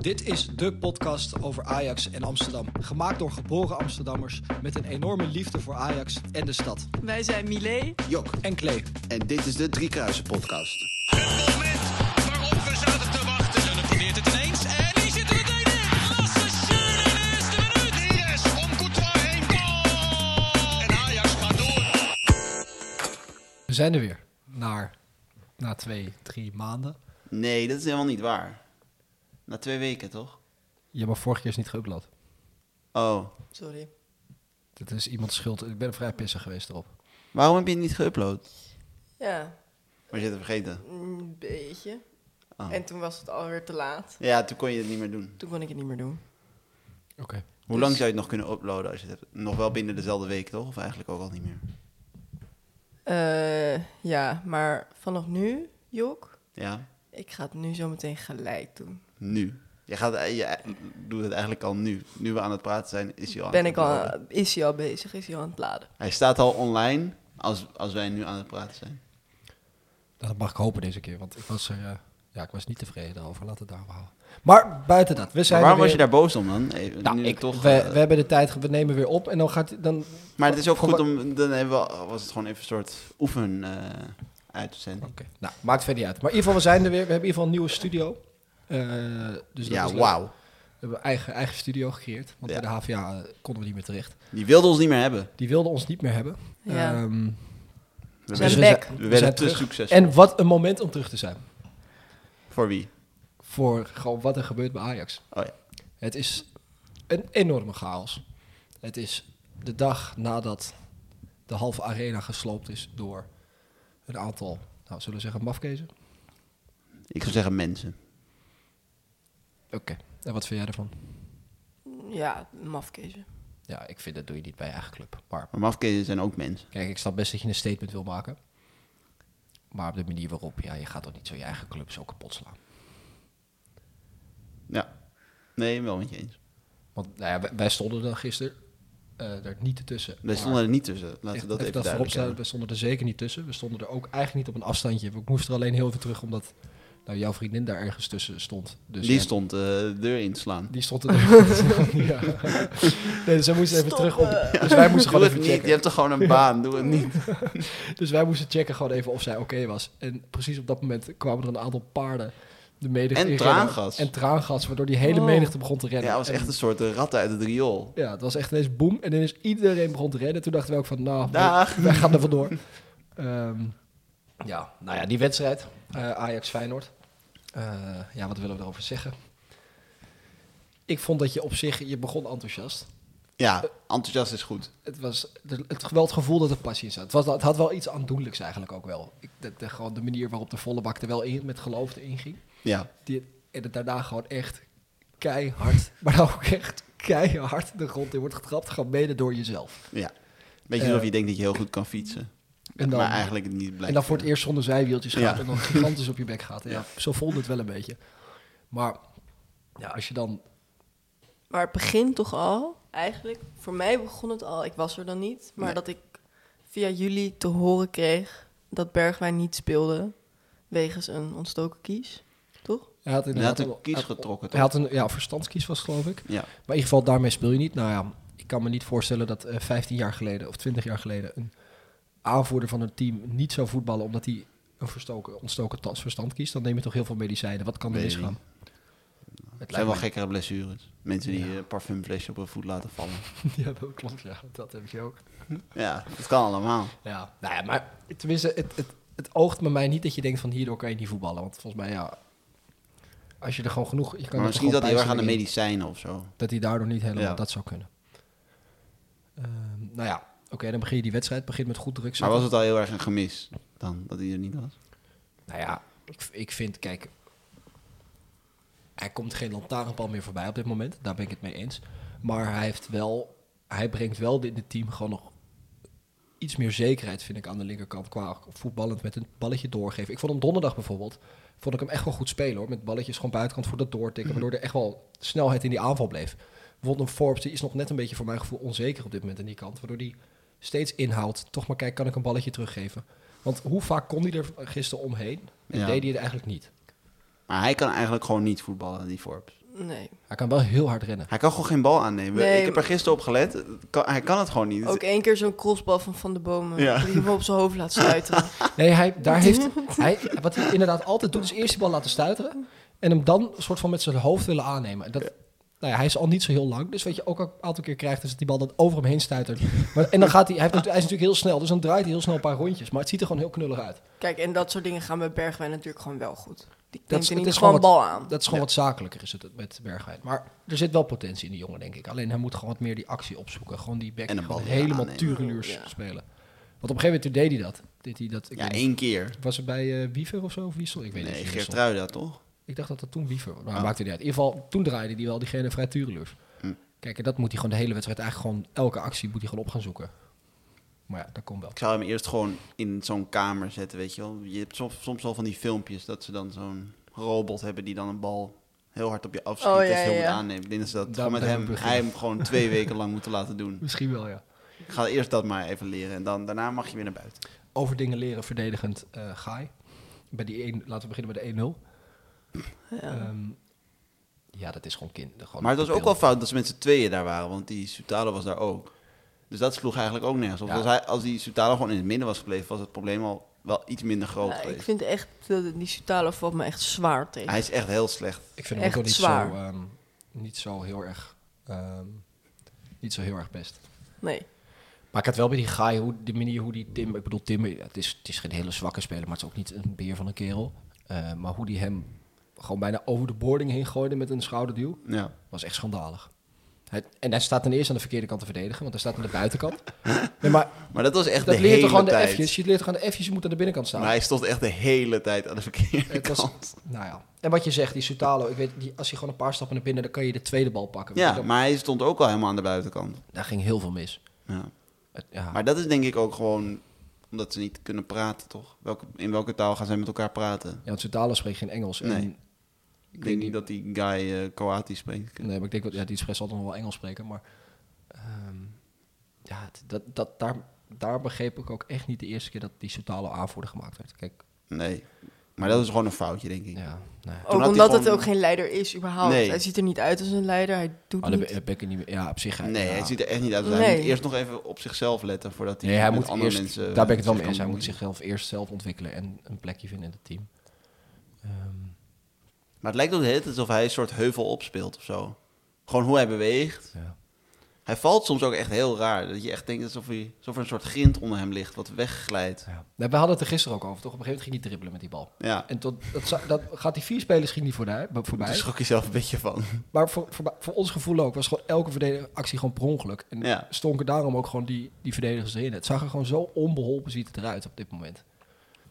Dit is de podcast over Ajax en Amsterdam. Gemaakt door geboren Amsterdammers met een enorme liefde voor Ajax en de stad. Wij zijn Milé. Jok. En Klee. En dit is de Driekruisen podcast. Het moment waarop we zaten te wachten. Zullen probeert het ineens. En die zit er meteen in. Lasse Schöne in de eerste minuut. Neres om Courtois heen. Goal! En Ajax gaat door. We zijn er weer. Na, na twee, drie maanden. Nee, dat is helemaal niet waar. Na twee weken, toch? Ja, maar vorige keer is niet geüpload. Oh. Sorry. Dat is iemands schuld. Ik ben vrij pissig geweest erop. Waarom heb je het niet geüpload? Ja, Was je het vergeten? een beetje. Oh. En toen was het alweer te laat. Ja, toen kon je het niet meer doen. Toen kon ik het niet meer doen. Oké. Hoe lang zou je het nog kunnen uploaden als je het hebt? Nog wel binnen dezelfde week, toch? Of eigenlijk ook al niet meer? Eh, ja, maar vanaf nu, Jok, Ja, ik ga het nu zo meteen gelijk doen. nu. Je, gaat, eh, je eh, doet het eigenlijk al nu. Nu we aan het praten zijn, is hij al aan Ben het ik al, uploaden. is hij al bezig? Is hij al aan het laden? Hij staat al online als, als wij nu aan het praten zijn. Dat mag ik hopen deze keer, want ik was er... eh, ja, ik was niet tevreden over. Laten we het daarover houden. Maar buiten dat, we zijn Maar waarom er was je weer- daar boos om dan? Even, Nou, nu ik, toch, we, eh, we hebben de tijd, ge- we nemen weer op en dan gaat... Dan, Maar het is ook Voor goed om, dan hebben we, was het gewoon even een soort oefen eh uitzending. Oké. Nou, maakt verder niet uit. Maar in ieder geval, we zijn er weer. We hebben in ieder geval een nieuwe studio. Eh, dus dat is ja, leuk. wauw. We hebben een eigen, eigen studio gecreëerd. Want Ja. bij de HVA eh, konden we niet meer terecht. Die wilde ons niet meer hebben. Die wilden ons niet meer hebben. Ja. Ehm, Dus- We, zijn werden- back. we zijn werden te terug. succesvol. En wat een moment om terug te zijn. Voor wie? Voor gewoon wat er gebeurt bij Ajax. Oh ja. Het is een enorme chaos. Het is de dag nadat de halve arena gesloopt is door een aantal, nou zullen we zeggen, mafkezen. Ik zou zeggen mensen. Oké. En wat vind jij ervan? Ja, mafkezen. Ja, ik vind dat doe je niet bij je eigen club. Maar Maar mafkezen zijn ook mensen. Kijk, ik snap best dat je een statement wil maken. Maar op de manier waarop, ja, je gaat toch niet zo je eigen club zo kapot slaan. Ja. Nee, wel met je eens. Want nou ja, wij, wij stonden dan gisteren eh, er niet tussen. Wij stonden er niet tussen. Laten we dat even, voorop duidelijk stellen. hebben. Wij stonden er zeker niet tussen. We stonden er ook eigenlijk niet op een afstandje. Ik moest er alleen heel even terug, omdat nou, jouw vriendin daar ergens tussen stond. Dus Die ja, stond eh, de deur in te slaan. Die stond er. ja. Nee, dus wij moesten even Stop, terug op. eh. Dus wij moesten Doe gewoon het even niet. checken. Je hebt toch gewoon een baan. Doe het niet. Dus wij moesten checken gewoon even of zij oké was. En precies op dat moment kwamen er een aantal paarden de menigte En in traangas. En traangas, waardoor die hele Oh. menigte begon te Ja, rennen. hij was En- echt een soort eh, ratten uit het riool. Ja, het was echt ineens boem. En ineens iedereen begon te rennen. Toen dachten we ook van, nou, Dag. we- wij gaan er vandoor. Ehm, ja, nou ja, die wedstrijd. eh, Ajax-Feyenoord. Eh, ja, wat willen we erover zeggen? Ik vond dat je op zich, je begon enthousiast. Ja, enthousiast is goed. Het was de- het, wel het gevoel dat er passie in zat. Het, was, het had wel iets aandoenlijks eigenlijk ook wel. Ik, de, de- gewoon de manier waarop de volle bak er wel in, met geloof erin ging. Ja. Die, en het daarna gewoon echt keihard, maar dan ook echt keihard de grond in wordt getrapt. Gewoon mede door jezelf. Ja. Beetje Eh. alsof je denkt dat je heel goed kan fietsen. En dan, maar eigenlijk het niet blijkt. en dan voor het eerst zonder zijwieltjes gaat Ja. en dan gigantisch op je bek gaat. Ja, Ja. Zo voelde het wel een beetje. Maar ja, als je dan... Maar het begint toch al, eigenlijk. Voor mij begon het al, ik was er dan niet. Maar Nee. dat ik via jullie te horen kreeg dat Bergwijn niet speelde wegens een ontstoken kies. Toch? Hij had, inderdaad een al- kies hij- getrokken, Hij had een ja, verstandskies was het, geloof ik. Ja. Maar in ieder geval, daarmee speel je niet. Nou ja, ik kan me niet voorstellen dat eh 15 jaar geleden of 20 jaar geleden een aanvoerder van een team niet zou voetballen omdat hij een verstoken, ontstoken tas- verstand kiest. Dan neem je toch heel veel medicijnen. Wat kan er Weet ik misgaan? niet. Het Het zijn wel lijkt gekkere blessures. Mensen die Ja. eh, parfumflesje op hun voet laten vallen. me- Ja, dat klopt. Ja, dat heb je ook. Ja, dat kan allemaal. Ja, nou ja, maar tenminste, het, het, het oogt bij mij niet dat je denkt van hierdoor kan je niet voetballen. Want volgens mij, ja, als je er gewoon genoeg... Je kan Maar er misschien gewoon dat hij heel erg aan de pijnstelling in- medicijnen of zo. Dat hij daardoor niet helemaal Ja. dat zou kunnen. Ehm, nou ja, oké, dan begin je die wedstrijd. Begint met goed druk Maar zetten. was het al heel erg een gemis dan, dat hij er niet was? Nou ja, ik, ik vind, kijk... Hij komt geen lantaarnpal meer voorbij op dit moment. Daar ben ik het mee eens. Maar hij, heeft wel, hij brengt wel in het team gewoon nog iets meer zekerheid, vind ik, aan de linkerkant. Qua voetballend met een balletje doorgeven. Ik vond hem donderdag bijvoorbeeld, vond ik hem echt wel goed spelen hoor. Met balletjes gewoon buitenkant voor dat doortikken. Waardoor er echt wel snelheid in die aanval bleef. Bijvoorbeeld een Forbes, die is nog net een beetje voor mijn gevoel onzeker op dit moment aan die kant. Waardoor die steeds inhoudt. Toch maar kijk, kan ik een balletje teruggeven? Want hoe vaak kon hij er gisteren omheen? En Ja. deed hij het eigenlijk niet. Maar hij kan eigenlijk gewoon niet voetballen, die Forbes. Nee. Hij kan wel heel hard rennen. Hij kan gewoon geen bal aannemen. Nee. Ik heb er gisteren op gelet. Het kan- hij kan het gewoon niet. Ook één keer zo'n crossbal van Van de Bomen. Ja. Die hem op zijn hoofd laat sluiten. Nee, hij, daar heeft, hij, wat hij inderdaad altijd doet, is eerst die bal laten stuiteren. En hem dan een soort van met zijn hoofd willen aannemen. Dat, nou ja, hij is al niet zo heel lang. Dus wat je ook een aantal keer krijgt, is dat die bal dan over hem heen stuitert. Maar, en dan gaat hij, hij, heeft natu- hij is natuurlijk heel snel, dus dan draait hij heel snel een paar rondjes. Maar het ziet er gewoon heel knullig uit. Kijk, en dat soort dingen gaan bij Bergwijn natuurlijk gewoon wel goed. Die Dat neemt is- in het ieder is geval een gewoon bal aan. Dat is gewoon wat zakelijker is het met Bergwijn. Maar er zit wel potentie in die jongen, denk ik. Alleen hij moet gewoon wat meer die actie opzoeken. Gewoon die back En die een bal gewoon weer helemaal aannemen. tureluurs Ja. spelen. Want op een gegeven moment toen deed hij dat. Deed hij dat ik ja, weet niet, één keer. Was het bij eh Wiever of zo? Of Wiesel? Ik weet niet. Nee, of Wiersel. Geertruida toch? Ik dacht dat dat toen Wiever was. Maar Ah. maakte niet uit. In ieder geval, toen draaide hij wel diegene vrij tureluurs. Hm. Kijk, en dat moet hij gewoon de hele wedstrijd eigenlijk gewoon... Elke actie moet hij gewoon op gaan zoeken. Maar ja, dat komt wel. Ik zou hem eerst gewoon in zo'n kamer zetten, weet je wel. Je hebt soms, soms wel van die filmpjes dat ze dan zo'n robot hebben die dan een bal heel hard op je afschiet Oh, als ja, je hem ja. aanneemt. Ik denk dat ze dat Daar- gewoon met daar hem, moet ik hij hem gewoon twee weken lang moeten laten doen. Misschien wel, ja. Ik ga eerst dat maar even leren en dan, daarna mag je weer naar buiten. Over dingen leren, verdedigend, eh Gaai. Bij die één, laten we beginnen bij de 1-0. Ja. Ehm, ja, dat is gewoon kinder. Gewoon Maar het was ook wel beeld. fout dat ze met z'n tweeën daar waren, want die Sutalo was daar ook. Dus dat sloeg eigenlijk ook nergens op. Ja. Als, hij, als die Sutalo gewoon in het midden was gebleven, was het probleem al wel iets minder groot Ja, ik geweest. vind echt, dat die Sutalo valt me echt zwaar tegen. Hij is echt heel slecht. Ik vind hem ook echt wel niet zwaar. zo, ehm, niet zo heel erg... ehm, niet zo heel erg best. Nee. Maar ik had wel bij die Gaai, hoe, de manier hoe die Tim... Ik bedoel, Tim, ja, het is, het is geen hele zwakke speler, maar het is ook niet een beer van een kerel. Eh, maar hoe die hem gewoon bijna over de boarding heen gooide met een schouderduw, Ja. was echt schandalig. Hij, en hij staat ten eerste aan de verkeerde kant te verdedigen, want hij staat aan de buitenkant. Nee, maar Maar dat was echt dat de leert toch hele gewoon de tijd. F'jes? Je leert toch aan de F'jes, je moet aan de binnenkant staan. Maar hij stond echt de hele tijd aan de verkeerde Het was- kant. Nou ja. En wat je zegt, die Sutalo, ik weet, die, als hij gewoon een paar stappen naar binnen, dan kan je de tweede bal pakken. Ja, Dan- maar hij stond ook al helemaal aan de buitenkant. Daar ging heel veel mis. Ja. Het- ja. Maar dat is denk ik ook gewoon omdat ze niet kunnen praten, toch? Welke, in welke taal gaan zij met elkaar praten? ja, want Sutalo spreekt geen Engels. Nee. En, Ik denk niet dat die guy eh, Kroatisch spreekt. Nee, maar ik denk wel, ja, die expres altijd nog wel Engels spreken, maar ehm, ja, het- dat, dat, daar, daar begreep ik ook echt niet de eerste keer dat die Sutalo aanvoerder gemaakt werd. Kijk, Nee. Maar dat is gewoon een foutje, denk ik. ja, oh, nee. Ah, had Ook hij omdat het gewoon- ook geen leider is, überhaupt. Nee. Hij ziet er niet uit als een leider. Hij doet Oh, dan ben, niet. ben ik er niet meer, ja, op zich. hij- Nee, ja. hij ziet er echt niet uit. Dus Hij Nee. moet eerst nog even op zichzelf letten voordat hij, Nee, hij met moet andere eerst, mensen... eh, daar ben ik het wel mee kan eens. Hij moet bemoeien. zichzelf eerst zelf ontwikkelen en een plekje vinden in het team. Ehm, Maar het lijkt ook de hele tijd alsof hij een soort heuvel opspeelt of zo. Gewoon hoe hij beweegt. ja. Hij valt soms ook echt heel raar. Dat je echt denkt alsof, hij, alsof er een soort grind onder hem ligt wat wegglijdt. Ja. Nee, we hadden het er gisteren ook over, toch? Op een gegeven moment ging hij dribbelen met die bal. Ja, En tot, dat, za- dat gaat die vier spelers ging niet voorbij. daar voorbij. schrok je zelf een beetje van. Maar voor, voor, voor ons gevoel ook was gewoon elke verdedigeractie gewoon per ongeluk. En Ja. stonken daarom ook gewoon die, die verdedigers erin. Het zag er gewoon zo onbeholpen ziet het eruit op dit moment.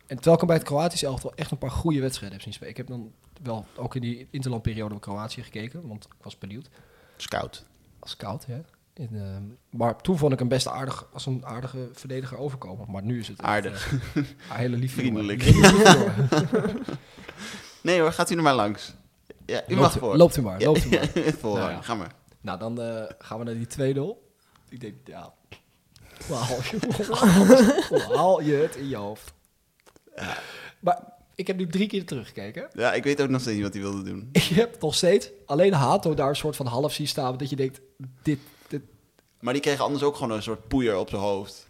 En terwijl ik hem bij het Kroatische elftal echt een paar goede wedstrijden heb zien spelen. Ik heb dan wel ook in die interlandperiode op Kroatië gekeken, want ik was benieuwd. Scout. Als koud, hè. In, ehm, maar toen vond ik hem best aardig als een aardige verdediger overkomen. Maar nu is het echt, Aardig. eh, een hele lieve jongen. Vriendelijk. Hele lieve jongen. Nee hoor, gaat u er maar langs. Ja, u mag loopt, voor. loopt u maar, loopt u maar. Ja, voor. Nou ja. Ga maar. Nou, dan eh, gaan we naar die 2-0. Ik denk, ja. Hoe haal je, hoe haal je het in je hoofd? Maar ik heb nu drie keer teruggekeken. Ja, ik weet ook nog steeds niet wat hij wilde doen. Je hebt nog steeds alleen Hato daar een soort van half zien staan. Dat je denkt, dit. dit Maar die kreeg anders ook gewoon een soort poeier op zijn hoofd.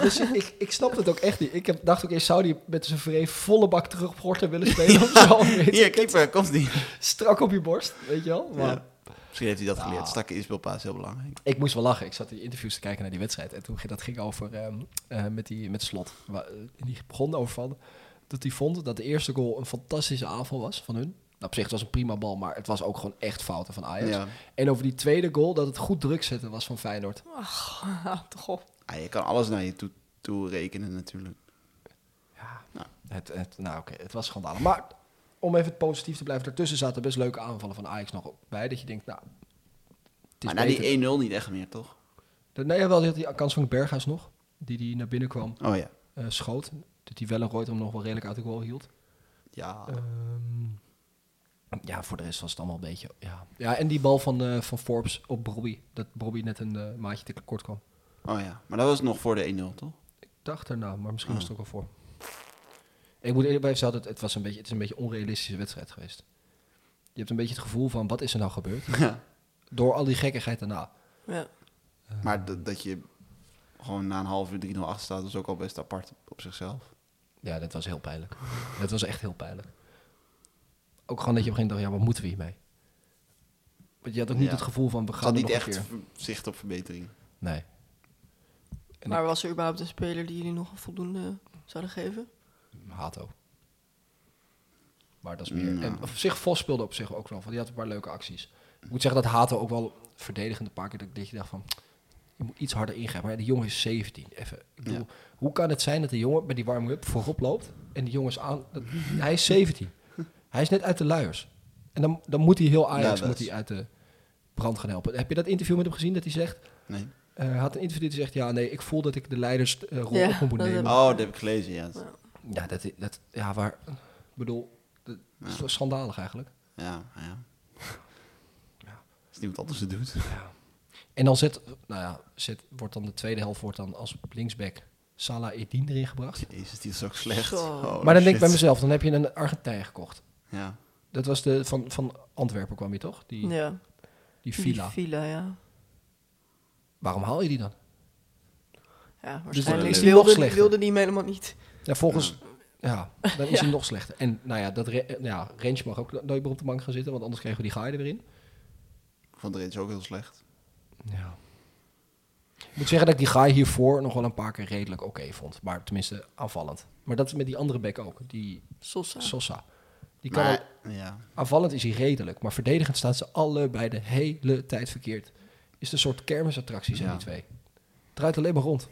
dus ik, ik snap het ook echt niet. Ik heb, dacht ook eerst, zou die met zijn vreef volle bak terug op Gorter willen spelen of zo? Weet je, Hier, keeper, komt die. Strak op je borst, weet je wel. Maar Ja. Misschien heeft hij dat geleerd. Ah. Strakke inspeelpaas is heel belangrijk. Ik moest wel lachen. Ik zat die interviews te kijken naar die wedstrijd. En toen ging dat ging over ehm, eh, met, die, met slot. Wa- eh, En die begon over van dat die vond dat de eerste goal een fantastische aanval was van hun. Nou, op zich het was een prima bal, maar het was ook gewoon echt fouten van Ajax. Ja. En over die tweede goal dat het goed druk zetten was van Feyenoord. Ah, toch op. Ah, je kan alles naar je toe, toe rekenen natuurlijk. Ja, Nou. het, het, nou oké, het was schandalig. Maar om even positief te blijven, daartussen zaten best leuke aanvallen van Ajax nog bij. Dat je denkt, nou, het is Maar na die beter. 1-0 niet echt meer, toch? Nee, wel die, die kans van Berghuis nog, die die naar binnen kwam. Oh ja. eh, schoot. Dat die Wellenrooyd hem nog wel redelijk uit de goal hield. Ehm, Ja. Ah. ja, voor de rest was het allemaal een beetje... Ja, ja en die bal van, eh, van Forbes op Bobby. Dat Bobby net een eh, maatje te kort kwam. Oh ja. Maar dat was nog voor de 1-0, toch? Ik dacht erna, maar misschien was het ook al voor. Ik moet eerlijk blijven zeggen, het, het, was een beetje, het is een beetje een onrealistische wedstrijd geweest. Je hebt een beetje het gevoel van, wat is er nou gebeurd? Ja. Door al die gekkigheid daarna. Ja. Maar dat, dat je gewoon na een half uur 3-0 achter staat, is ook al best apart op zichzelf. Ja, dat was heel pijnlijk. dat was echt heel pijnlijk. Ook gewoon dat je op een gegeven moment dacht, ja, wat moeten we hiermee? Want je had ook niet Ja. het gevoel van, we Ik gaan had er niet nog echt een keer. v- zicht op verbetering. Nee. En Maar was er überhaupt een speler die jullie nog een voldoende zouden geven? Hato. Maar dat is meer... Nou. En op zich, Vos speelde op zich ook wel. Want die had een paar leuke acties. Ik moet zeggen dat Hato ook wel verdedigend een paar keer... dat- dat je dacht van... Je moet iets harder ingrijpen. Maar die jongen is 17. Even, ik bedoel, Hoe kan het zijn dat de jongen bij die warming-up voorop loopt... en die jongens aan... dat- hij is 17. Hij is net uit de luiers. En dan, dan moet hij heel Ja, Ajax dat moet is- hij uit de brand gaan helpen. Heb je dat interview met hem gezien dat hij zegt... Nee. eh, hij had een interview die zegt... ja, nee, ik voel dat ik de leidersrol Ja, op me moet dat nemen. heb Oh, dat heb ik gelezen, ja. Ja, dat, i- dat, ja waar... Ik bedoel, dat is wel schandalig eigenlijk. Ja, ja. Ja. Als niemand anders het doet. En dan zet, nou ja, zet, wordt dan de tweede helft wordt dan als linksback Salah Edin erin gebracht. Jezus, die Oh, is ook slecht. Zo. Holy maar dan denk ik bij Oh, shit. mezelf, dan heb je een Argentijn gekocht. Ja. Dat was de, van, van Antwerpen kwam je toch? Die, Ja. die villa. Die villa, ja. Waarom haal je die dan? Ja, dan waarschijnlijk is hij Dus, eh, nog wilde, slechter. wilde die hem helemaal niet. Ja, volgens, ja, dan is hij nog slechter. En nou ja, dat re- eh, ja, Range mag ook no- nooit meer op de bank gaan zitten, want anders kregen we die gaai er weer in. Ik vond de Reds ook heel slecht. Ja. Ik moet zeggen dat ik die guy hiervoor nog wel een paar keer redelijk oké vond. Maar tenminste aanvallend. Maar dat is met die andere back ook. Die Sosa. Sosa. Die kan wel- Maar, ja. aanvallend is hij redelijk. Maar verdedigend staan ze allebei de hele tijd verkeerd. Is een soort kermisattractie zijn Ja. die twee. Draait alleen maar rond.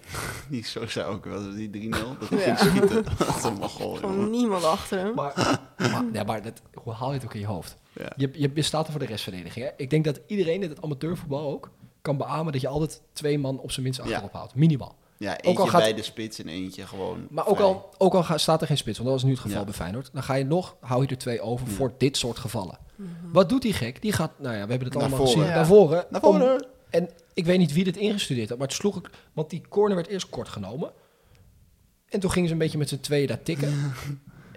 Die Sosa ook wel, die 3-0. Dat Ja. ging schieten. Dat is een mogol, Gewoon jongen. niemand achter hem. Maar, maar, ja, maar dat, hoe haal je het ook in je hoofd? Ja. Je, je, je staat er voor de restverdediging. Hè? Ik denk dat iedereen in het amateurvoetbal ook kan beamen dat je altijd twee man op zijn minst achterop houdt. Minimaal. ja, eentje Ook al gaat- bij de spits en eentje gewoon Maar ook vrij. al, ook al ga- staat er geen spits, want dat was nu het geval Ja. bij Feyenoord. Dan ga je nog, hou je er twee over voor dit soort gevallen. Wat doet die gek? Die gaat, nou ja, we hebben het Naar allemaal voren. gezien, Ja. naar voren. Naar om- voren! en ik weet niet wie dit ingestudeerd had, maar het sloeg ik... Want die corner werd eerst kort genomen. En toen gingen ze een beetje met z'n tweeën daar tikken.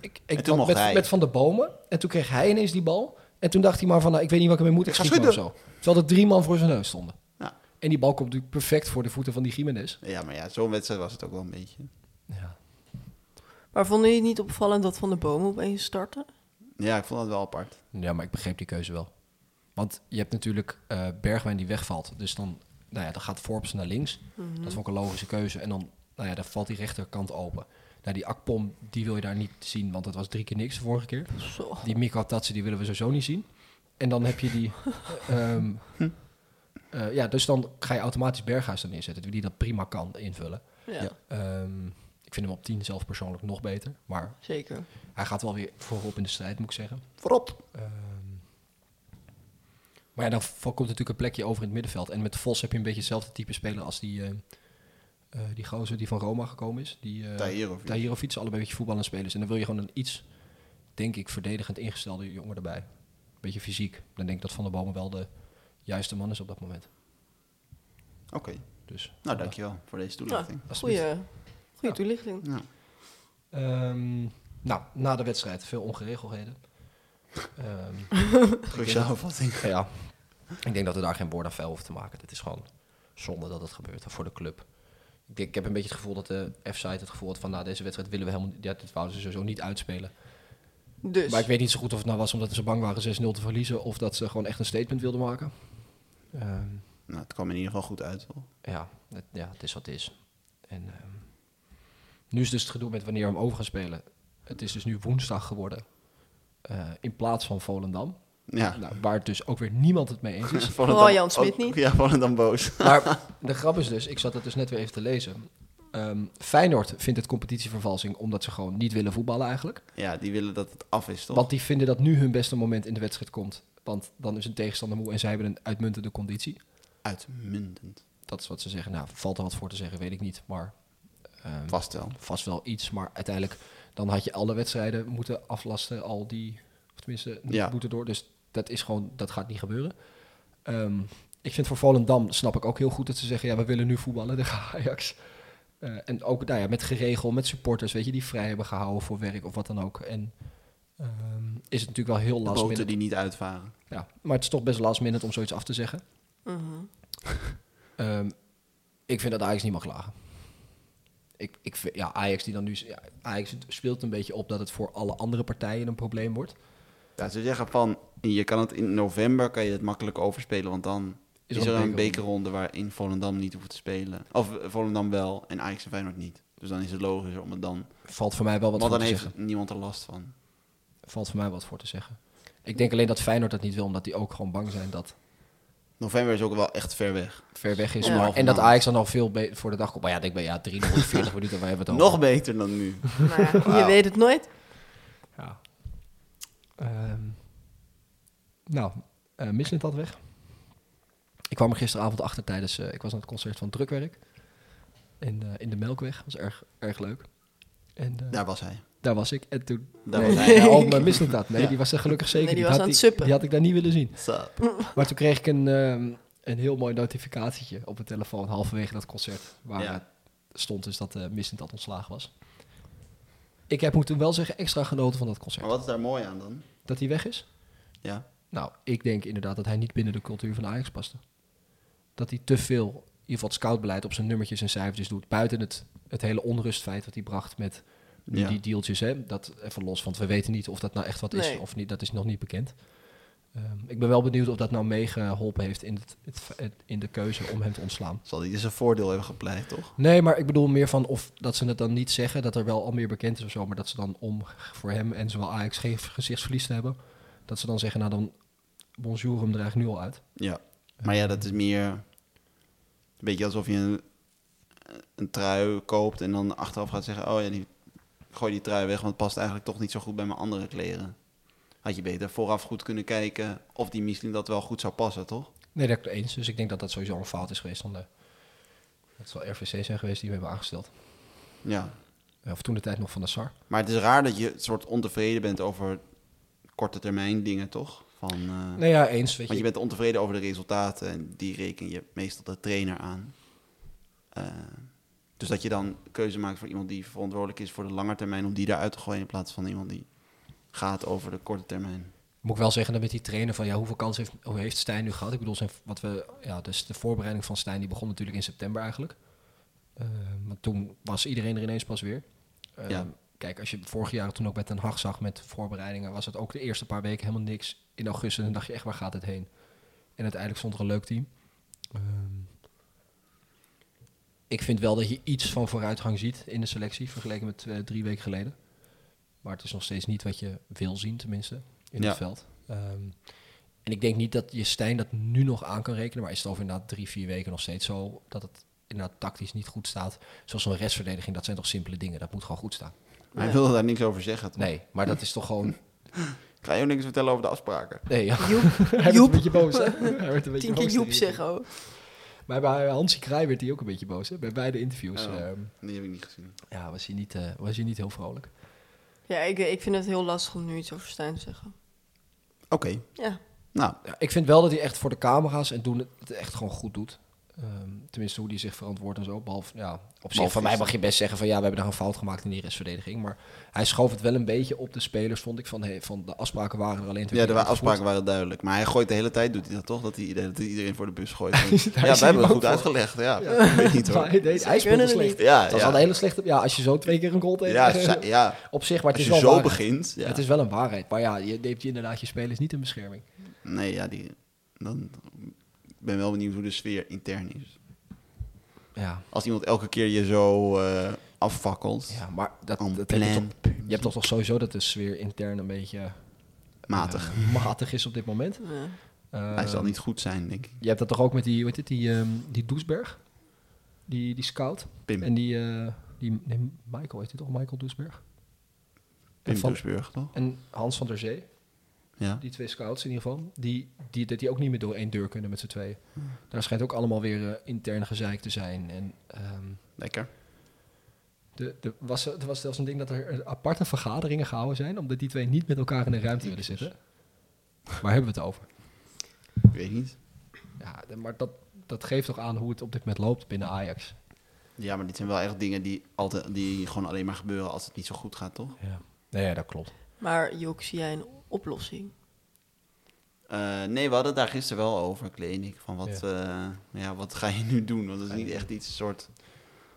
ik, ik En toen mocht met, hij. met Van der Bomen. En toen kreeg hij ineens die bal. En toen dacht hij maar van, nou, ik weet niet wat ik ermee moet. Ik Ik ga schiet maar of zo. Terwijl er drie man voor zijn neus stonden. Ja. En die bal komt natuurlijk perfect voor de voeten van die Jiménez. Ja, maar ja, zo'n wedstrijd was het ook wel een beetje. Ja. Maar vonden jullie het niet opvallend dat Van de Bomen opeens startte? Ja, ik vond dat wel apart. Ja, maar ik begreep die keuze wel. Want je hebt natuurlijk eh, Bergwijn die wegvalt. Dus dan, nou ja, dan gaat Forbes naar links. Dat vond ik een logische keuze. En dan, nou ja, dan valt die rechterkant open. Nou, die Akpom, die wil je daar niet zien, want dat was drie keer niks de vorige keer. Zo. Die Mikko Tatsen, die willen we sowieso niet zien. En dan heb je die... ehm, eh, ja, dus dan ga je automatisch Berghuis erin zetten, die dat prima kan invullen. Ja, Ja. Ehm, ik vind hem op 10 zelf persoonlijk nog beter. Maar zeker. hij gaat wel weer voorop in de strijd, moet ik zeggen. Voorop. Ehm, maar ja, dan v- komt natuurlijk een plekje over in het middenveld. En met Vos heb je een beetje hetzelfde type speler als die, eh, eh, die gozer die van Roma gekomen is. Die, eh Tahirovic. Tahirovic, allebei een beetje voetballende spelers. En dan wil je gewoon een iets, denk ik, verdedigend ingestelde jongen erbij. Een beetje fysiek. Dan denk ik dat Van der Bomen wel de juiste man is op dat moment. Oké. Dus, Nou, dankjewel voor deze Ja, toelichting. Alsjeblieft. goeie, goeie Ja. toelichting. Ja. Ehm, nou, na de wedstrijd veel ongeregeldheden. Ehm, Goeie samenvatting. Ja, ik denk dat we daar geen woord aan vuil hoeven te maken. Het is gewoon zonde dat het gebeurt voor de club. Ik, denk, ik heb een beetje het gevoel dat de F-site het gevoel had van... nou, deze wedstrijd willen we helemaal niet... Ja, dit wouden ze sowieso niet uitspelen. Dus, Maar ik weet niet zo goed of het nou was omdat ze bang waren 6-0 te verliezen... of dat ze gewoon echt een statement wilden maken. Ehm, Nou, het kwam in ieder geval goed uit. Wel. ja, het, ja, het is wat het is. En ehm, nu is dus het gedoe met wanneer we hem over gaan spelen. Het is dus nu woensdag geworden eh, in plaats van Volendam. Ja. Nou, waar het dus ook weer niemand het mee eens is. Volendam Jan Smit ook- niet. Ja, Volendam boos. Maar de grap is dus, ik zat dat dus net weer even te lezen. Ehm, Feyenoord vindt het competitievervalsing omdat ze gewoon niet willen voetballen eigenlijk. Ja, die willen dat het af is, toch? Want die vinden dat nu hun beste moment in de wedstrijd komt. Want dan is een tegenstander moe en zij hebben een uitmuntende conditie. Uitmuntend. Dat is wat ze zeggen. Nou, valt er wat voor te zeggen, weet ik niet. Maar ehm, Vast wel. vast wel iets. Maar uiteindelijk, dan had je alle wedstrijden moeten aflasten. Al die, of tenminste, niet Ja. moeten door. Dus dat is gewoon, dat gaat niet gebeuren. Ehm, ik vind voor Volendam, snap ik ook heel goed dat ze zeggen... ja, we willen nu voetballen, de Ajax. Eh, en ook nou ja, met geregel, met supporters, weet je... die vrij hebben gehouden voor werk of wat dan ook. En eh, Ehm, is het natuurlijk wel heel last Boten minute. die niet uitvaren. Ja, maar het is toch best last minute om zoiets af te zeggen. Mhm. Ehm, ik vind dat Ajax niet mag klagen. Ik, ik vind, ja, Ajax die dan nu ja, Ajax speelt een beetje op dat het voor alle andere partijen een probleem wordt. Ja, ze zeggen van, je kan het in november kan je het makkelijk overspelen, want dan is, er een bekerronde waarin Volendam niet hoeft te spelen. Of eh, Volendam wel en Ajax en Feyenoord niet. Dus dan is het logischer om het dan... Valt voor mij wel wat want voor dan te heeft zeggen. niemand er last van. Valt voor mij wat voor te zeggen. Ik denk alleen dat Feyenoord dat niet wil, omdat die ook gewoon bang zijn dat November is ook wel echt ver weg. ver weg is. Ja. maar- en dat Ajax dan al veel be- voor de dag komt. Maar ja, ik denk bij ja, 340 minuten, waar hebben we het over? Nog beter dan nu. Nou ja, je Wauw. weet het nooit. Ja. Ehm, nou, eh Mislit had weg. Ik kwam er gisteravond achter tijdens... eh, ik was aan het concert van Drukwerk. In, de- in de Melkweg. was erg, erg leuk. En eh, Daar was hij. daar was ik. En toen... Nou. Daar nee, was hij. nee, Alma Mislit had. Nee, Ja. die was er gelukkig zeker Nee, die niet. was had aan het suppen. Die had ik daar niet willen zien. Sup. Maar toen kreeg ik een, ehm, een heel mooi notificatietje op mijn telefoon. Halverwege dat concert. Waar Ja. eh, stond dus dat eh Mislit had ontslagen was. Ik heb, moet toen wel zeggen, extra genoten van dat concert. Maar wat is daar mooi aan dan? Dat hij weg is? Ja. Nou, ik denk inderdaad dat hij niet binnen de cultuur van Ajax paste. Dat hij te veel, in ieder geval het scoutbeleid, op zijn nummertjes en cijfertjes doet. Buiten het, het hele onrustfeit wat hij bracht met nu Ja. die dealtjes. Hè? Dat even los, want we weten niet of dat nou echt wat is Nee. of niet. Dat is nog niet bekend. Ehm, ik ben wel benieuwd of dat nou meegeholpen heeft in, het, het, het- in de keuze om hem te ontslaan. Zal hij dus een voordeel hebben gepleit, toch? Nee, maar ik bedoel meer van of dat ze het dan niet zeggen, dat er wel al meer bekend is of zo, maar dat ze dan om voor hem en zowel Ajax geen gezichtsverlies te hebben, dat ze dan zeggen, nou dan bonjour hem er eigenlijk nu al uit. Ja. Maar ja, dat is meer... Een beetje alsof je een, een trui koopt en dan achteraf gaat zeggen... Oh ja, die, gooi die trui weg, want het past eigenlijk toch niet zo goed bij mijn andere kleren. Had je beter vooraf goed kunnen kijken of die misschien dat wel goed zou passen, toch? Nee, dat ik het eens. Dus ik denk dat dat sowieso een fout is geweest van de. Dat zal RVC zijn geweest die we hebben aangesteld. Ja. Of toen de tijd nog van de SAR. Maar het is raar dat je soort ontevreden bent over korte termijn dingen, toch? Van, eh, Nee, ja, eens. Weet Want je je, bent ontevreden over de resultaten en die reken je meestal de trainer aan. Eh, dus dat je dan keuze maakt voor iemand die verantwoordelijk is voor de lange termijn, om die eruit te gooien in plaats van iemand die gaat over de korte termijn. moet ik wel zeggen dat met die trainer van ja, hoeveel kans heeft, hoe heeft Stijn nu gehad? Ik bedoel, zijn, wat we, ja, dus de voorbereiding van Stijn die begon natuurlijk in september eigenlijk. Eh, maar toen was iedereen er ineens pas weer. Eh, Ja. Kijk, als je vorig jaar toen ook bij Ten Hag zag met voorbereidingen, was het ook de eerste paar weken helemaal niks. In augustus dan dacht je echt, waar gaat het heen? En uiteindelijk stond er een leuk team. Ehm, ik vind wel dat je iets van vooruitgang ziet in de selectie, vergeleken met eh, drie weken geleden. Maar het is nog steeds niet wat je wil zien, tenminste, in Ja. het veld. Ehm, en ik denk niet dat je Stijn dat nu nog aan kan rekenen. Maar is het over inderdaad drie, vier weken nog steeds zo dat het inderdaad tactisch niet goed staat. Zoals een restverdediging, dat zijn toch simpele dingen. Dat moet gewoon goed staan. Maar Ja. hij wilde daar niks over zeggen. Toch? Nee, maar dat is toch gewoon... Ik ga je ook niks vertellen over de afspraken. Nee, ja. Joep, Hij werd een Joep. beetje boos, hè? Hij werd een beetje tien keer boos. Joep zeggen ook. Maar bij Hansi Kraai werd hij ook een beetje boos, hè? Bij beide interviews. Oh. ehm, Die heb ik niet gezien. ja, was hij, niet, eh, was hij niet heel vrolijk. Ja, ik, eh, ik vind het heel lastig om nu iets over Stijn te zeggen. Oké, Ja, nou, Ja, ik vind wel dat hij echt voor de camera's en doen het- het echt gewoon goed doet. Ehm, tenminste, hoe hij zich verantwoordt en zo. Behalve, ja, op zich, van mij mag je best zeggen van ja, we hebben daar een fout gemaakt in die restverdediging. Maar hij schoof het wel een beetje op de spelers, vond ik. Van, hey, van de afspraken waren er alleen ja, de uitgevoerd. afspraken waren duidelijk. Maar hij gooit de hele tijd, doet hij dat toch? Dat hij dat hij iedereen voor de bus gooit. ja, is dat hij hebben we bang goed voor. uitgelegd. Ja, ik weet niet Maar hoor. hij, deed, hij Ze kunnen speelde het slecht. niet. Ja, Dat was ja. al een hele slechte... Ja, als je zo twee keer een goal tegen... Ja, zij- ja. op zich, maar het als is je wel zo waarheid. begint. Ja. Het is wel een waarheid. Maar ja, je neemt je inderdaad je spelers niet in bescherming. Nee, ja, die, dan ik ben wel benieuwd hoe de sfeer intern is. Ja, Als iemand elke keer je zo eh, afvakkelt, ja maar dat, On dat heb je, plan. toch, je hebt toch toch sowieso dat de sfeer intern een beetje... matig. eh, matig is op dit moment. ja. Hij Eh, zal niet goed zijn, denk ik. Je hebt dat toch ook met die, hoe heet het, die, ehm, die Doesberg? Die, die scout. Pim, En die, eh, die nee, Michael heet hij toch? Michael Doesberg? Pim En, van, Doesburg, toch? en Hans van der Zee, Ja. die twee scouts in ieder geval, die, die, dat die ook niet meer door één deur kunnen met z'n tweeën. Daar schijnt ook allemaal weer eh, intern gezeik te zijn. En ehm, Lekker. de, de, was, er was zelfs een ding dat er eh, aparte vergaderingen gehouden zijn, omdat die twee niet met elkaar in een ruimte willen zitten. Waar hebben we het over? Ik weet niet. Ja, de- maar dat, dat geeft toch aan hoe het op dit moment loopt binnen Ajax. Ja, maar dit zijn wel echt dingen die, altijd, die gewoon alleen maar gebeuren als het niet zo goed gaat, toch? Ja. Nee, ja, dat klopt. Maar Jok, zie jij een oplossing? Eh, nee, we hadden het daar gisteren wel over, kliniek. Van wat, eh, ja, wat ga je nu doen? Want dat is niet echt iets, een soort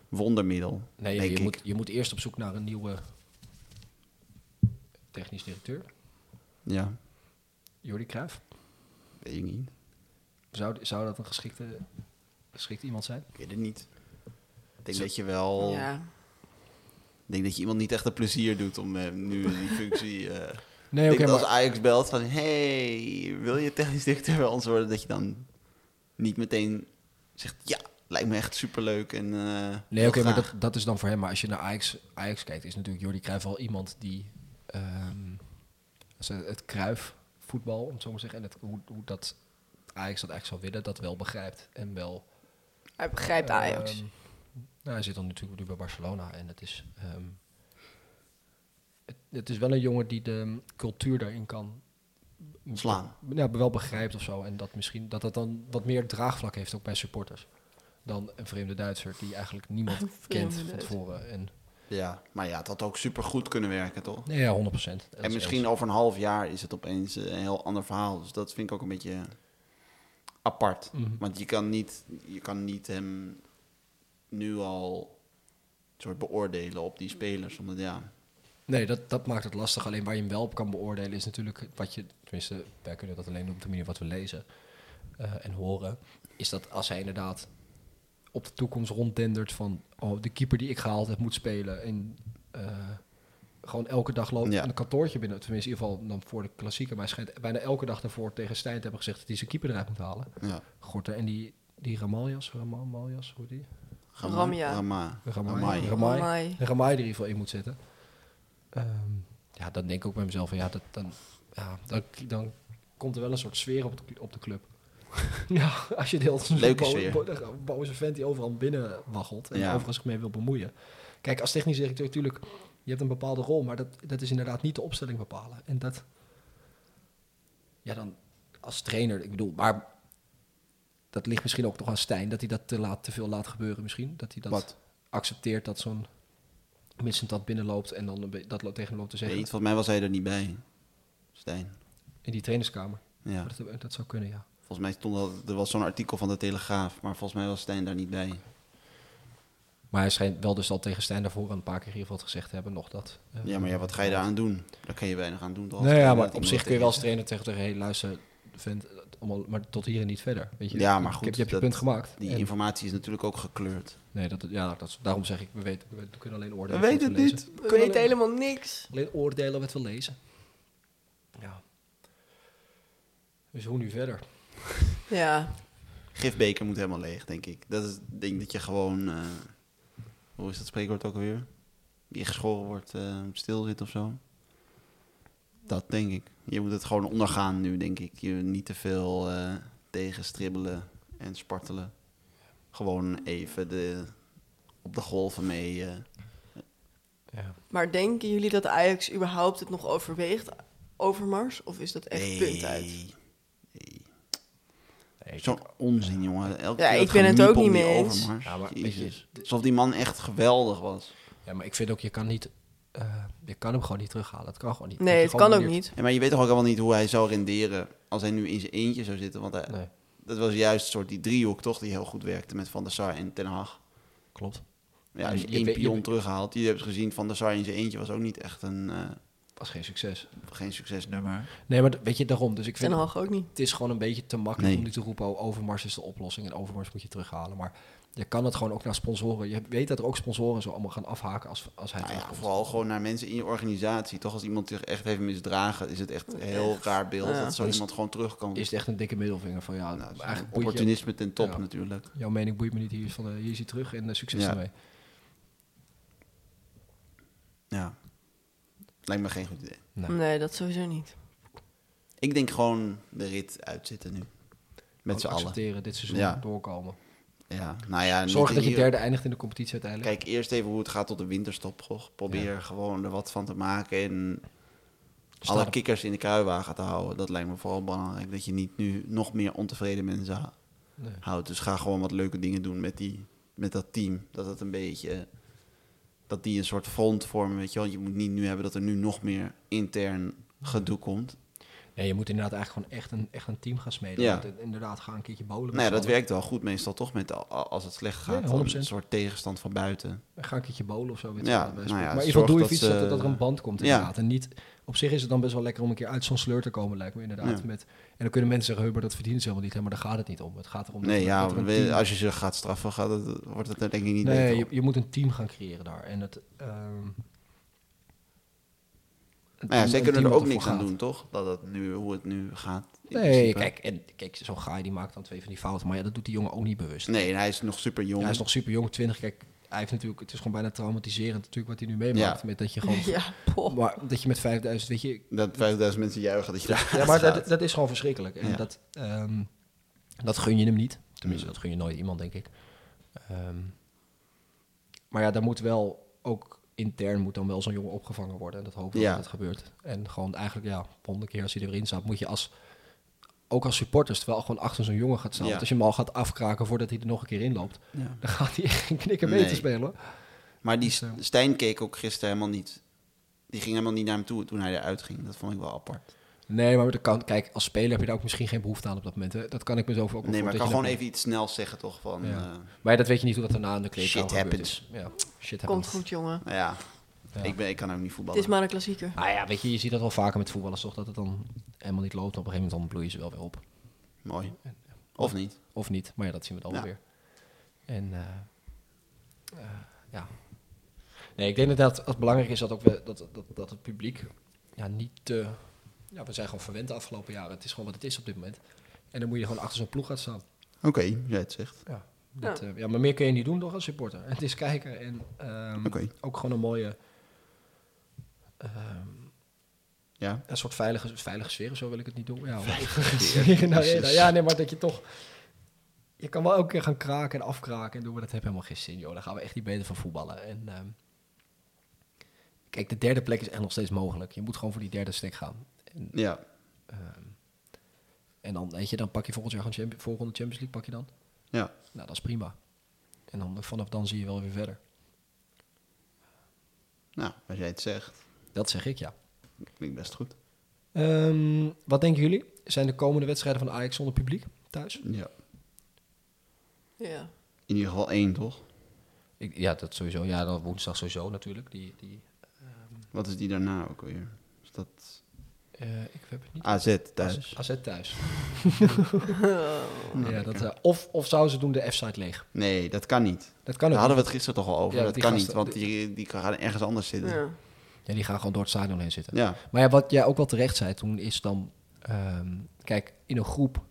wondermiddel. Nee, denk je ik. moet, je moet eerst op zoek naar een nieuwe technisch directeur. Ja, Jordi Cruijff. weet ik niet. Zou, zou dat een geschikte, geschikt iemand zijn? Ik weet het niet. Ik denk Zo- dat je Oh. wel... Ja. Ik denk dat je iemand niet echt een plezier doet om eh, nu in die functie... eh, Nee, ik oké, denk dat maar als Ajax belt van... hey, wil je technisch directeur bij ons worden? Dat je dan niet meteen zegt... Ja, lijkt me echt superleuk en... eh, Nee, heel oké, maar graag." dat, dat is dan voor hem. Maar als je naar Ajax, Ajax kijkt, is natuurlijk Jordi Cruijff wel iemand die ehm, als het, het Cruijff voetbal, om het zo maar te zeggen, en het, hoe, hoe dat Ajax dat eigenlijk zou willen, dat wel begrijpt en wel. Hij begrijpt Ajax. ehm, nou, hij zit dan natuurlijk nu bij Barcelona en het is. ehm, het, het is wel een jongen die de cultuur daarin kan Slaan. ja, wel begrijpt of zo. En dat misschien dat dat dan wat meer draagvlak heeft ook bij supporters. Dan een vreemde Duitser die eigenlijk niemand vreemde kent van Duitser. tevoren. En, Ja, maar ja, het had ook supergoed kunnen werken, toch? nee, ja, 100 procent. en misschien over een half jaar is het opeens eh, een heel ander verhaal. Dus dat vind ik ook een beetje apart. Mhm. Want je kan, niet, je kan niet hem nu al soort beoordelen op die spelers. Omdat ja, Nee, dat, dat maakt het lastig. Alleen waar je hem wel op kan beoordelen is natuurlijk wat je... Tenminste, wij kunnen dat alleen doen op de manier wat we lezen eh, en horen. Is dat als hij inderdaad op de toekomst ronddendert van... Oh, de keeper die ik gehaald heb moet spelen. En eh, gewoon elke dag loopt Ja. aan een kantoortje binnen. Tenminste, in ieder geval dan voor de klassieker. Maar hij schijnt bijna elke dag daarvoor tegen Stijn te hebben gezegd... dat hij zijn keeper eruit moet halen. ja Gorter en die, die Ramaljas, Ramaljas, hoe heet die? Rama- Ramia. Rama- Ramai. Ramai. Ramai. Ramai. De Ramai er in ieder geval in moet zetten. Ehm, ja, dan denk ik ook bij mezelf van ja, dat, dan, ja dan, dan komt er wel een soort sfeer op de, op de club. ja, als je deelt een Leuke bo- sfeer. bo- een boze vent die overal binnen waggelt en Ja. overal zich mee wil bemoeien. Kijk, als technisch directeur natuurlijk, je hebt een bepaalde rol, maar dat, dat is inderdaad niet de opstelling bepalen. En dat, ja dan als trainer, ik bedoel, maar dat ligt misschien ook nog aan Stijn, dat hij dat te, laat, te veel laat gebeuren misschien. Dat hij dat Wat? accepteert dat zo'n missend dat binnenloopt en dan een be- dat lo- tegen hem loopt te zeggen Weet, volgens mij was hij er niet bij. Stijn. in die trainerskamer. Ja. Maar Dat, dat zou kunnen, ja. Volgens mij stond dat, er was zo'n artikel van de Telegraaf, maar volgens mij was Stijn daar niet bij. Maar hij schijnt wel dus al tegen Stijn daarvoor een paar keer in ieder geval gezegd te hebben nog dat. eh, Ja, maar ja, wat ga je daaraan doen? Daar kan je weinig aan doen. toch? Nou ja, Dat maar iemand op zich kun je wel als tegen- trainer tegen zeggen, hey, luister, vent, het allemaal, maar tot hier en niet verder. Weet je, Ja, maar Ik goed, heb- je hebt je dat- punt gemaakt. Die En- informatie is natuurlijk ook gekleurd. nee, dat, ja, dat, is- daarom zeg ik, we, weten, we, kunnen alleen oordelen. We wat weten lezen. het niet. We We kunnen weten alleen- helemaal niks. Alleen oordelen wat we lezen. Ja. Dus hoe nu verder? Ja. Gifbeker moet helemaal leeg, denk ik. Dat is ik denk dat je gewoon. eh, hoe is dat spreekwoord ook alweer? Die geschoren wordt, eh, moet stil zit of zo. Dat denk ik. Je moet het gewoon ondergaan nu, denk ik. Je niet te veel eh, tegenstribbelen en spartelen. Gewoon even de, op de golven mee. eh. Ja. Maar denken jullie dat Ajax überhaupt het nog overweegt, Overmars? Of is dat echt punt uit? Nee. Zo'n onzin, jongen. Elke Ja, keer ik ben het gemiep ook om niet die mee eens. Overmars. Ja, maar weet je, Jezus. Alsof die man echt geweldig was. Ja, maar ik vind ook, je kan niet... eh, je kan hem gewoon niet terughalen. Het kan gewoon niet. Nee, Dat het je kan gewoon ook manier- niet. Ja, maar je weet toch ook helemaal niet hoe hij zou renderen als hij nu in zijn eentje zou zitten. Want hij- Nee, dat was juist soort die driehoek toch die heel goed werkte met Van der Sar en Ten Hag. klopt. Ja, als je Je één weet- je pion weet- terughaalt. Je hebt gezien, Van der Sar in zijn eentje was ook niet echt een, eh, Was geen succes. geen succesnummer. Nee, maar d- weet je, daarom. Dus ik Ten vind, Hag ook niet. het is gewoon een beetje te makkelijk Nee. om nu te roepen... oh, Overmars is de oplossing en Overmars moet je terughalen. Maar je kan het gewoon ook naar sponsoren. Je weet dat er ook sponsoren zo allemaal gaan afhaken als, als hij Nou ja, terugkomt. vooral gewoon naar mensen in je organisatie. Toch als iemand zich echt heeft misdragen, is het echt een heel raar beeld Ja. dat zo Is- iemand gewoon terugkomt. Is het echt een dikke middelvinger van... ja, Nou, dat is eigenlijk boeit je- opportunisme ten top Ja. natuurlijk. jouw mening boeit me niet. Hier is, van, eh, hier is hij terug en eh, succes Ja. ermee. Ja. Lijkt me geen goed idee. Nee. Nee, dat sowieso niet. Ik denk gewoon de rit uitzitten nu. Met z'n Gewoon allen. accepteren, dit seizoen Ja. doorkomen. Ja, nou ja, niet Zorg in dat je ieder- derde eindigt in de competitie uiteindelijk. Kijk eerst even hoe het gaat tot de winterstop. goh. Probeer gewoon er wat van te maken en Staat alle op- kikkers in de kruiwagen te houden. Dat lijkt me vooral belangrijk. Dat je niet nu nog meer ontevreden mensen ha- Nee. houdt. Dus ga gewoon wat leuke dingen doen met, die, met dat team. Dat het een beetje dat die een soort front vormen, weet je wel. Je moet niet nu hebben dat er nu nog meer intern gedoe komt. Nee, je moet inderdaad eigenlijk gewoon echt een, echt een team gaan smeden. Ja. Want in- Inderdaad, ga een keertje bowlen. Nou ja, met z'n dat allen. werkt wel goed meestal toch, met al- al- als het slecht gaat. dan 100%. een soort tegenstand van buiten. Ga een keertje bowlen of zo. weet je Ja, wel, bij nou sport. ja, maar in ieder geval zorg doe je dat iets dat, ze- er- dat er een band komt Ja. inderdaad. En niet, op zich is het dan best wel lekker om een keer uit zo'n sleur te komen, lijkt me inderdaad. Ja. Met, en dan kunnen mensen zeggen, "Hé, maar dat verdienen ze helemaal niet. Hè, maar daar gaat het niet om. Het gaat erom dat- Nee, ja, dat er een we- team- als je ze gaat straffen, gaat het, wordt het er denk ik niet Nee, beter je, op. je moet een team gaan creëren daar. En het, ehm, een- Nou ja, een zij team kunnen dat er ook ervoor niks aan gaat. doen, toch? Dat het nu, hoe het nu gaat. in Nee, principe. kijk, en, kijk zo'n guy die maakt dan twee van die fouten. Maar ja, dat doet die jongen ook niet bewust. Nee, en hij is nog super jong. Ja, hij is nog super jong, 20. Kijk, hij heeft natuurlijk, het is gewoon bijna traumatiserend natuurlijk wat hij nu meemaakt. Ja. Met dat je gewoon, Ja, poh. maar dat je met 5000, weet je. Dat 5000 mensen juichen dat je daar Ja, maar dat, dat is gewoon verschrikkelijk. En Ja. dat, ehm, dat gun je hem niet. Tenminste, Mm. dat gun je nooit iemand, denk ik. Ehm, maar ja, daar moet wel ook intern moet dan wel zo'n jongen opgevangen worden. En dat hoop ik Ja. dat het gebeurt. En gewoon eigenlijk, ja, honderd keer als hij erin staat, moet je als ook als supporters, terwijl gewoon achter zo'n jongen gaat staan. Ja. Want als je hem al gaat afkraken voordat hij er nog een keer in loopt, Ja. dan gaat hij geen knikker mee Nee. te spelen. Maar die Dus, eh, Stijn keek ook gisteren helemaal niet. Die ging helemaal niet naar hem toe toen hij eruit ging. Dat vond ik wel apart. Nee, maar dat kan, kijk, als speler heb je daar ook misschien geen behoefte aan op dat moment. Hè. Dat kan ik mezelf ook wel Nee, maar ik voorstellen kan gewoon dat je even iets snel zeggen, toch? Van, Ja. eh, dat- Maar ja, dat weet je niet hoe dat daarna in de kleedkamer Shit gebeurd is. Ja, shit Komt happens. goed, jongen. nou ja, Ja. Ik, ben, ik kan ook niet Het voetballen. is maar een klassieker. Nou ja, weet je, je ziet dat wel vaker met voetballers toch, dat het dan helemaal niet loopt. Op een gegeven moment dan bloeien ze wel weer op. Mooi. Of niet? Of niet, maar ja, dat zien we dan Ja. weer. En eh, eh, ja. Nee, ik denk inderdaad dat het belangrijk is dat, ook we, dat, dat, dat het publiek ja, niet te... Ja, we zijn gewoon verwend de afgelopen jaren. Het is gewoon wat het is op dit moment. En dan moet je gewoon achter zo'n ploeg gaan staan. Oké, jij het zegt. Ja, dat, eh, ja, maar meer kun je niet doen toch als supporter. Het is kijken en ehm, Oké. ook gewoon een mooie... ehm, Ja. een soort veilige, veilige sfeer, of zo wil ik het niet doen. Ja, Veilige sfeer in de arena. precies. Ja, nee, maar dat je toch... Je kan wel elke keer gaan kraken en afkraken en doen, maar dat heeft helemaal geen zin, joh. Daar gaan we echt niet beter van voetballen. En, ehm, kijk, de derde plek is echt nog steeds mogelijk. Je moet gewoon voor die derde stek gaan. En, Ja. ehm, en dan, weet je, dan pak je volgend jaar gewoon champi- volgende Champions League, pak je dan. Ja. Nou, dat is prima. En dan, vanaf dan zie je wel weer verder. Nou, als jij het zegt, Dat zeg ik, ja. klinkt best goed. Ehm, wat denken jullie? Zijn de komende wedstrijden van Ajax zonder publiek thuis? Ja. Ja. In ieder geval één, toch? Ik, ja, dat sowieso. Ja, dan woensdag sowieso natuurlijk. Die, die, Wat is die daarna ook alweer? Is dat eh, ik heb het niet. AZ thuis? AZ thuis. Nou, ja, dat, lekker. eh, of, of zouden ze doen de F-site leeg? Nee, dat kan niet. Dat kan Daar ook. hadden we het gisteren toch al over. Oh, Ja, dat die kan gasten- niet, want die, die gaan ergens anders zitten. Ja. ja. Ja, die gaan gewoon door het stadion heen zitten. Maar ja, wat jij ook wel terecht zei toen is dan... ehm, kijk, in een groep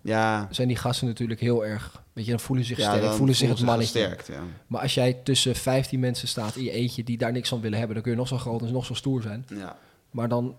Ja. zijn die gasten natuurlijk heel erg... Weet je, dan voelen ze zich Ja, sterk, dan voelen ze zich het mannetje. gesterkt, ja. Maar als jij tussen 15 mensen staat in je eentje die daar niks van willen hebben... dan kun je nog zo groot en nog zo stoer zijn. ja. Maar dan...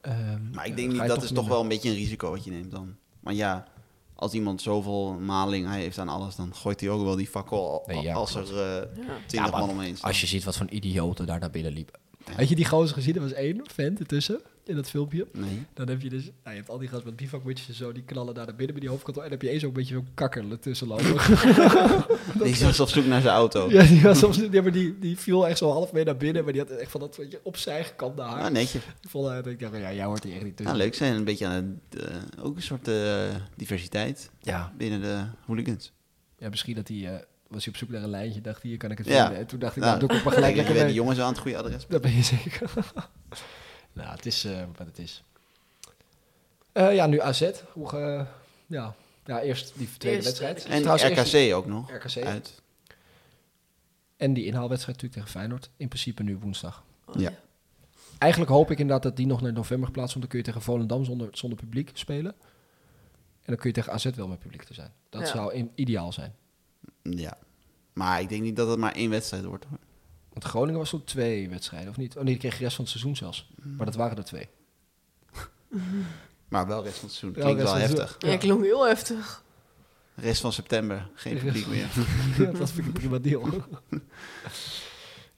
ehm, Maar ja, ik denk ga niet, je dat is toch minder. wel een beetje een risico wat je neemt dan. Maar ja, als iemand zoveel maling hij heeft aan alles, dan gooit hij ook wel die fakkel al- Nee, ja, als er eh, klopt. Ja. twintig Ja, maar man omheen staan. Als je ziet wat voor een idioten daar naar binnen liepen. Had je die gozer gezien? Er was één vent ertussen in dat filmpje. Nee. Dan heb je dus, nou, je hebt al die gasten met bivakmutsjes en zo, die knallen daar naar binnen bij die hoofdkantoor. En dan heb je eens ook een beetje zo'n kakker ertussen lopen. Die was op zoek naar zijn auto. ja, die, was soms, ja, maar die, die viel echt zo half mee naar binnen, maar die had echt van dat weet je, opzij gekant naar haar. Ah, netjes. Ik vond haar, dat ik dacht, ja, jij hoort hier echt niet dus- Nou, tussen. leuk zijn een beetje aan het, eh, ook een soort eh, diversiteit ja, binnen de hooligans. ja, misschien dat hij, eh, was hij op zoek naar een lijntje, dacht hier kan ik het Ja. vinden. En toen dacht ik, nou, doe ik het maar gelijk kijk, lekker je bent de mee. jongens aan het goede adres. Dat ben je zeker. nou, het is eh, wat het is. Eh, ja, nu AZ. Hoe, ge- ja. ja, eerst die tweede Eerst- wedstrijd. En Trouwens, eerst die- RKC ook nog. RKC. Uit. En die inhaalwedstrijd natuurlijk tegen Feyenoord. In principe nu woensdag. Oh, Ja. Eigenlijk hoop ik inderdaad dat die nog naar november geplaatst wordt. Dan kun je tegen Volendam zonder, zonder publiek spelen. En dan kun je tegen AZ wel met publiek te zijn. Dat Ja. zou in- ideaal zijn. Ja. Maar ik denk niet dat het maar één wedstrijd wordt. Hoor. Want Groningen was toen twee wedstrijden, of niet? Oh nee, die kreeg de rest van het seizoen zelfs. Maar dat waren er twee. Maar wel rest van het seizoen. Ja, Klinkt rest wel van het heftig. Ja, Ja. klonk heel heftig. Rest van september. Geen Rest- publiek meer. Ja, dat vind ik een prima deal.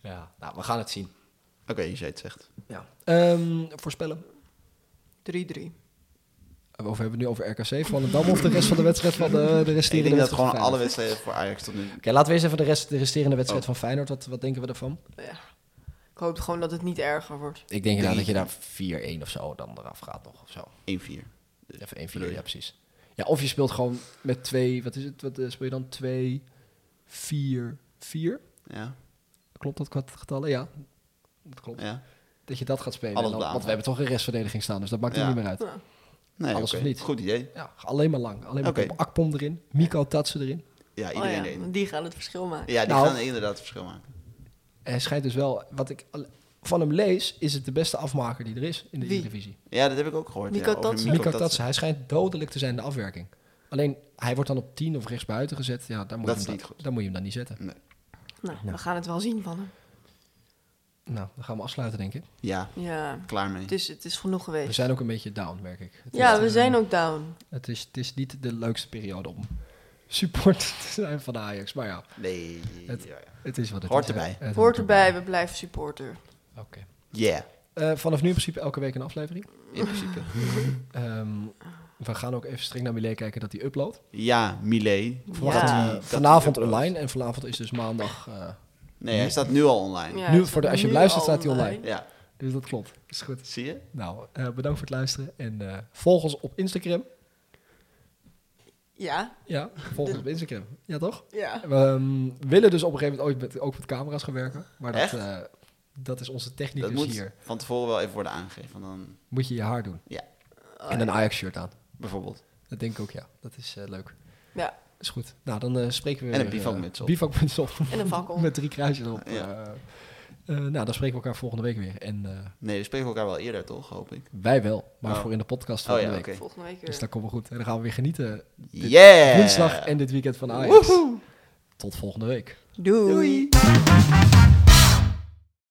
ja, nou, we gaan het zien. Ehm, Oké, als jij het zegt. Ja. voorspellen. 3-3. Of hebben we het nu over RKC Volendam of de rest van de wedstrijd van eh, de, de Ik resterende denk dat wedstrijd gewoon van alle Feyenoord? wedstrijden voor Ajax tot nu. Oké, laten we eens even de, rest, de resterende wedstrijd Oh. van Feyenoord. Wat, wat denken we ervan? Ja. Ik hoop gewoon dat het niet erger wordt. Ik denk Drie. inderdaad dat je daar 4-1 of zo dan eraf gaat nog of zo. 1-4. Even 1-4, bedoel je? ja precies. Ja, of je speelt gewoon met twee, wat is het, wat eh, speel je dan? 2, 4, 4? Ja, Klopt dat qua getallen? Ja, dat klopt. ja. Dat je dat gaat spelen. Alles En dan- op de want we aanval. hebben toch een restverdediging staan, dus dat maakt Ja. er niet meer uit. Ja. Nee, Alles oké. of niet. Goed idee. Ja, alleen maar lang. Alleen maar Oké. op Akpom erin, Miko Tatsen erin. Ja, Oh iedereen ja, erin. want die gaan het verschil maken. Ja, die Nou. gaan inderdaad het verschil maken. Hij schijnt dus wel, wat ik al- van hem lees, is het de beste afmaker die er is in de Wie? Eredivisie. Ja, dat heb ik ook gehoord. Nico ja, over Tatsen? Miko Tatsen, hij schijnt dodelijk te zijn in de afwerking. Alleen, hij wordt dan op 10 of rechtsbuiten gezet. Ja, daar moet, je Dat hem is dan, niet goed. daar moet je hem dan niet zetten. Nee. Nou, Ja. we gaan het wel zien van hem. Mm. Nou, dan gaan we afsluiten, denk ik. Ja, Ja, klaar mee. het is, het is genoeg We geweest. zijn ook een beetje down, merk ik. Het is, Ja, we eh, zijn ook down. Het is, het is niet de leukste periode om supporter te zijn van Ajax. Maar ja, Nee. Het- Ja, ja. het is wat het Hoort is, hè. erbij. Het Hoort erbij, we blijven supporter. Oké. Yeah, Eh, vanaf nu in principe elke week een aflevering. in principe. Ehm, we gaan ook even streng naar Millet kijken dat hij uploadt. ja, Millet. Verwacht Ja. hij Dat hij vanavond uploadt. online. En vanavond is dus maandag. eh, Nee, hij staat nu al online. Ja, Nu, het voor de- staat als je nu luistert, al staat hij online. Ja, dus dat klopt. Is goed. zie je? Nou, eh, bedankt voor het luisteren. En eh, volg ons op Instagram. Ja, Ja, volg ons op Instagram. Ja, toch? ja. We ehm, willen dus op een gegeven moment ooit met, ook met camera's gaan werken. Maar dat, Echt? eh, dat is onze Dat technicus moet hier. van tevoren wel even worden aangegeven. want Dan, Moet je je haar doen. Ah, ja, en Oh een Ajax-shirt aan. bijvoorbeeld. Dat denk ik ook, ja. Dat is eh, leuk. Ja, Is goed. Nou, dan eh, spreken we En een weer, eh, bivakmuts op. bivakmuts op. en een fakkel. Met drie kruisjes op. Ja. Eh, eh, nou, dan spreken we elkaar volgende week weer. En eh, Nee, we spreken elkaar wel eerder, toch? Hoop ik. wij wel, maar Oh. voor in de podcast Oh volgende ja, oké. Eh. week. Volgende week Dus weer. dat komt wel goed. En dan gaan we weer genieten. Dit Yeah! Woensdag en dit weekend van Ajax. Tot volgende week. Doei. Doei.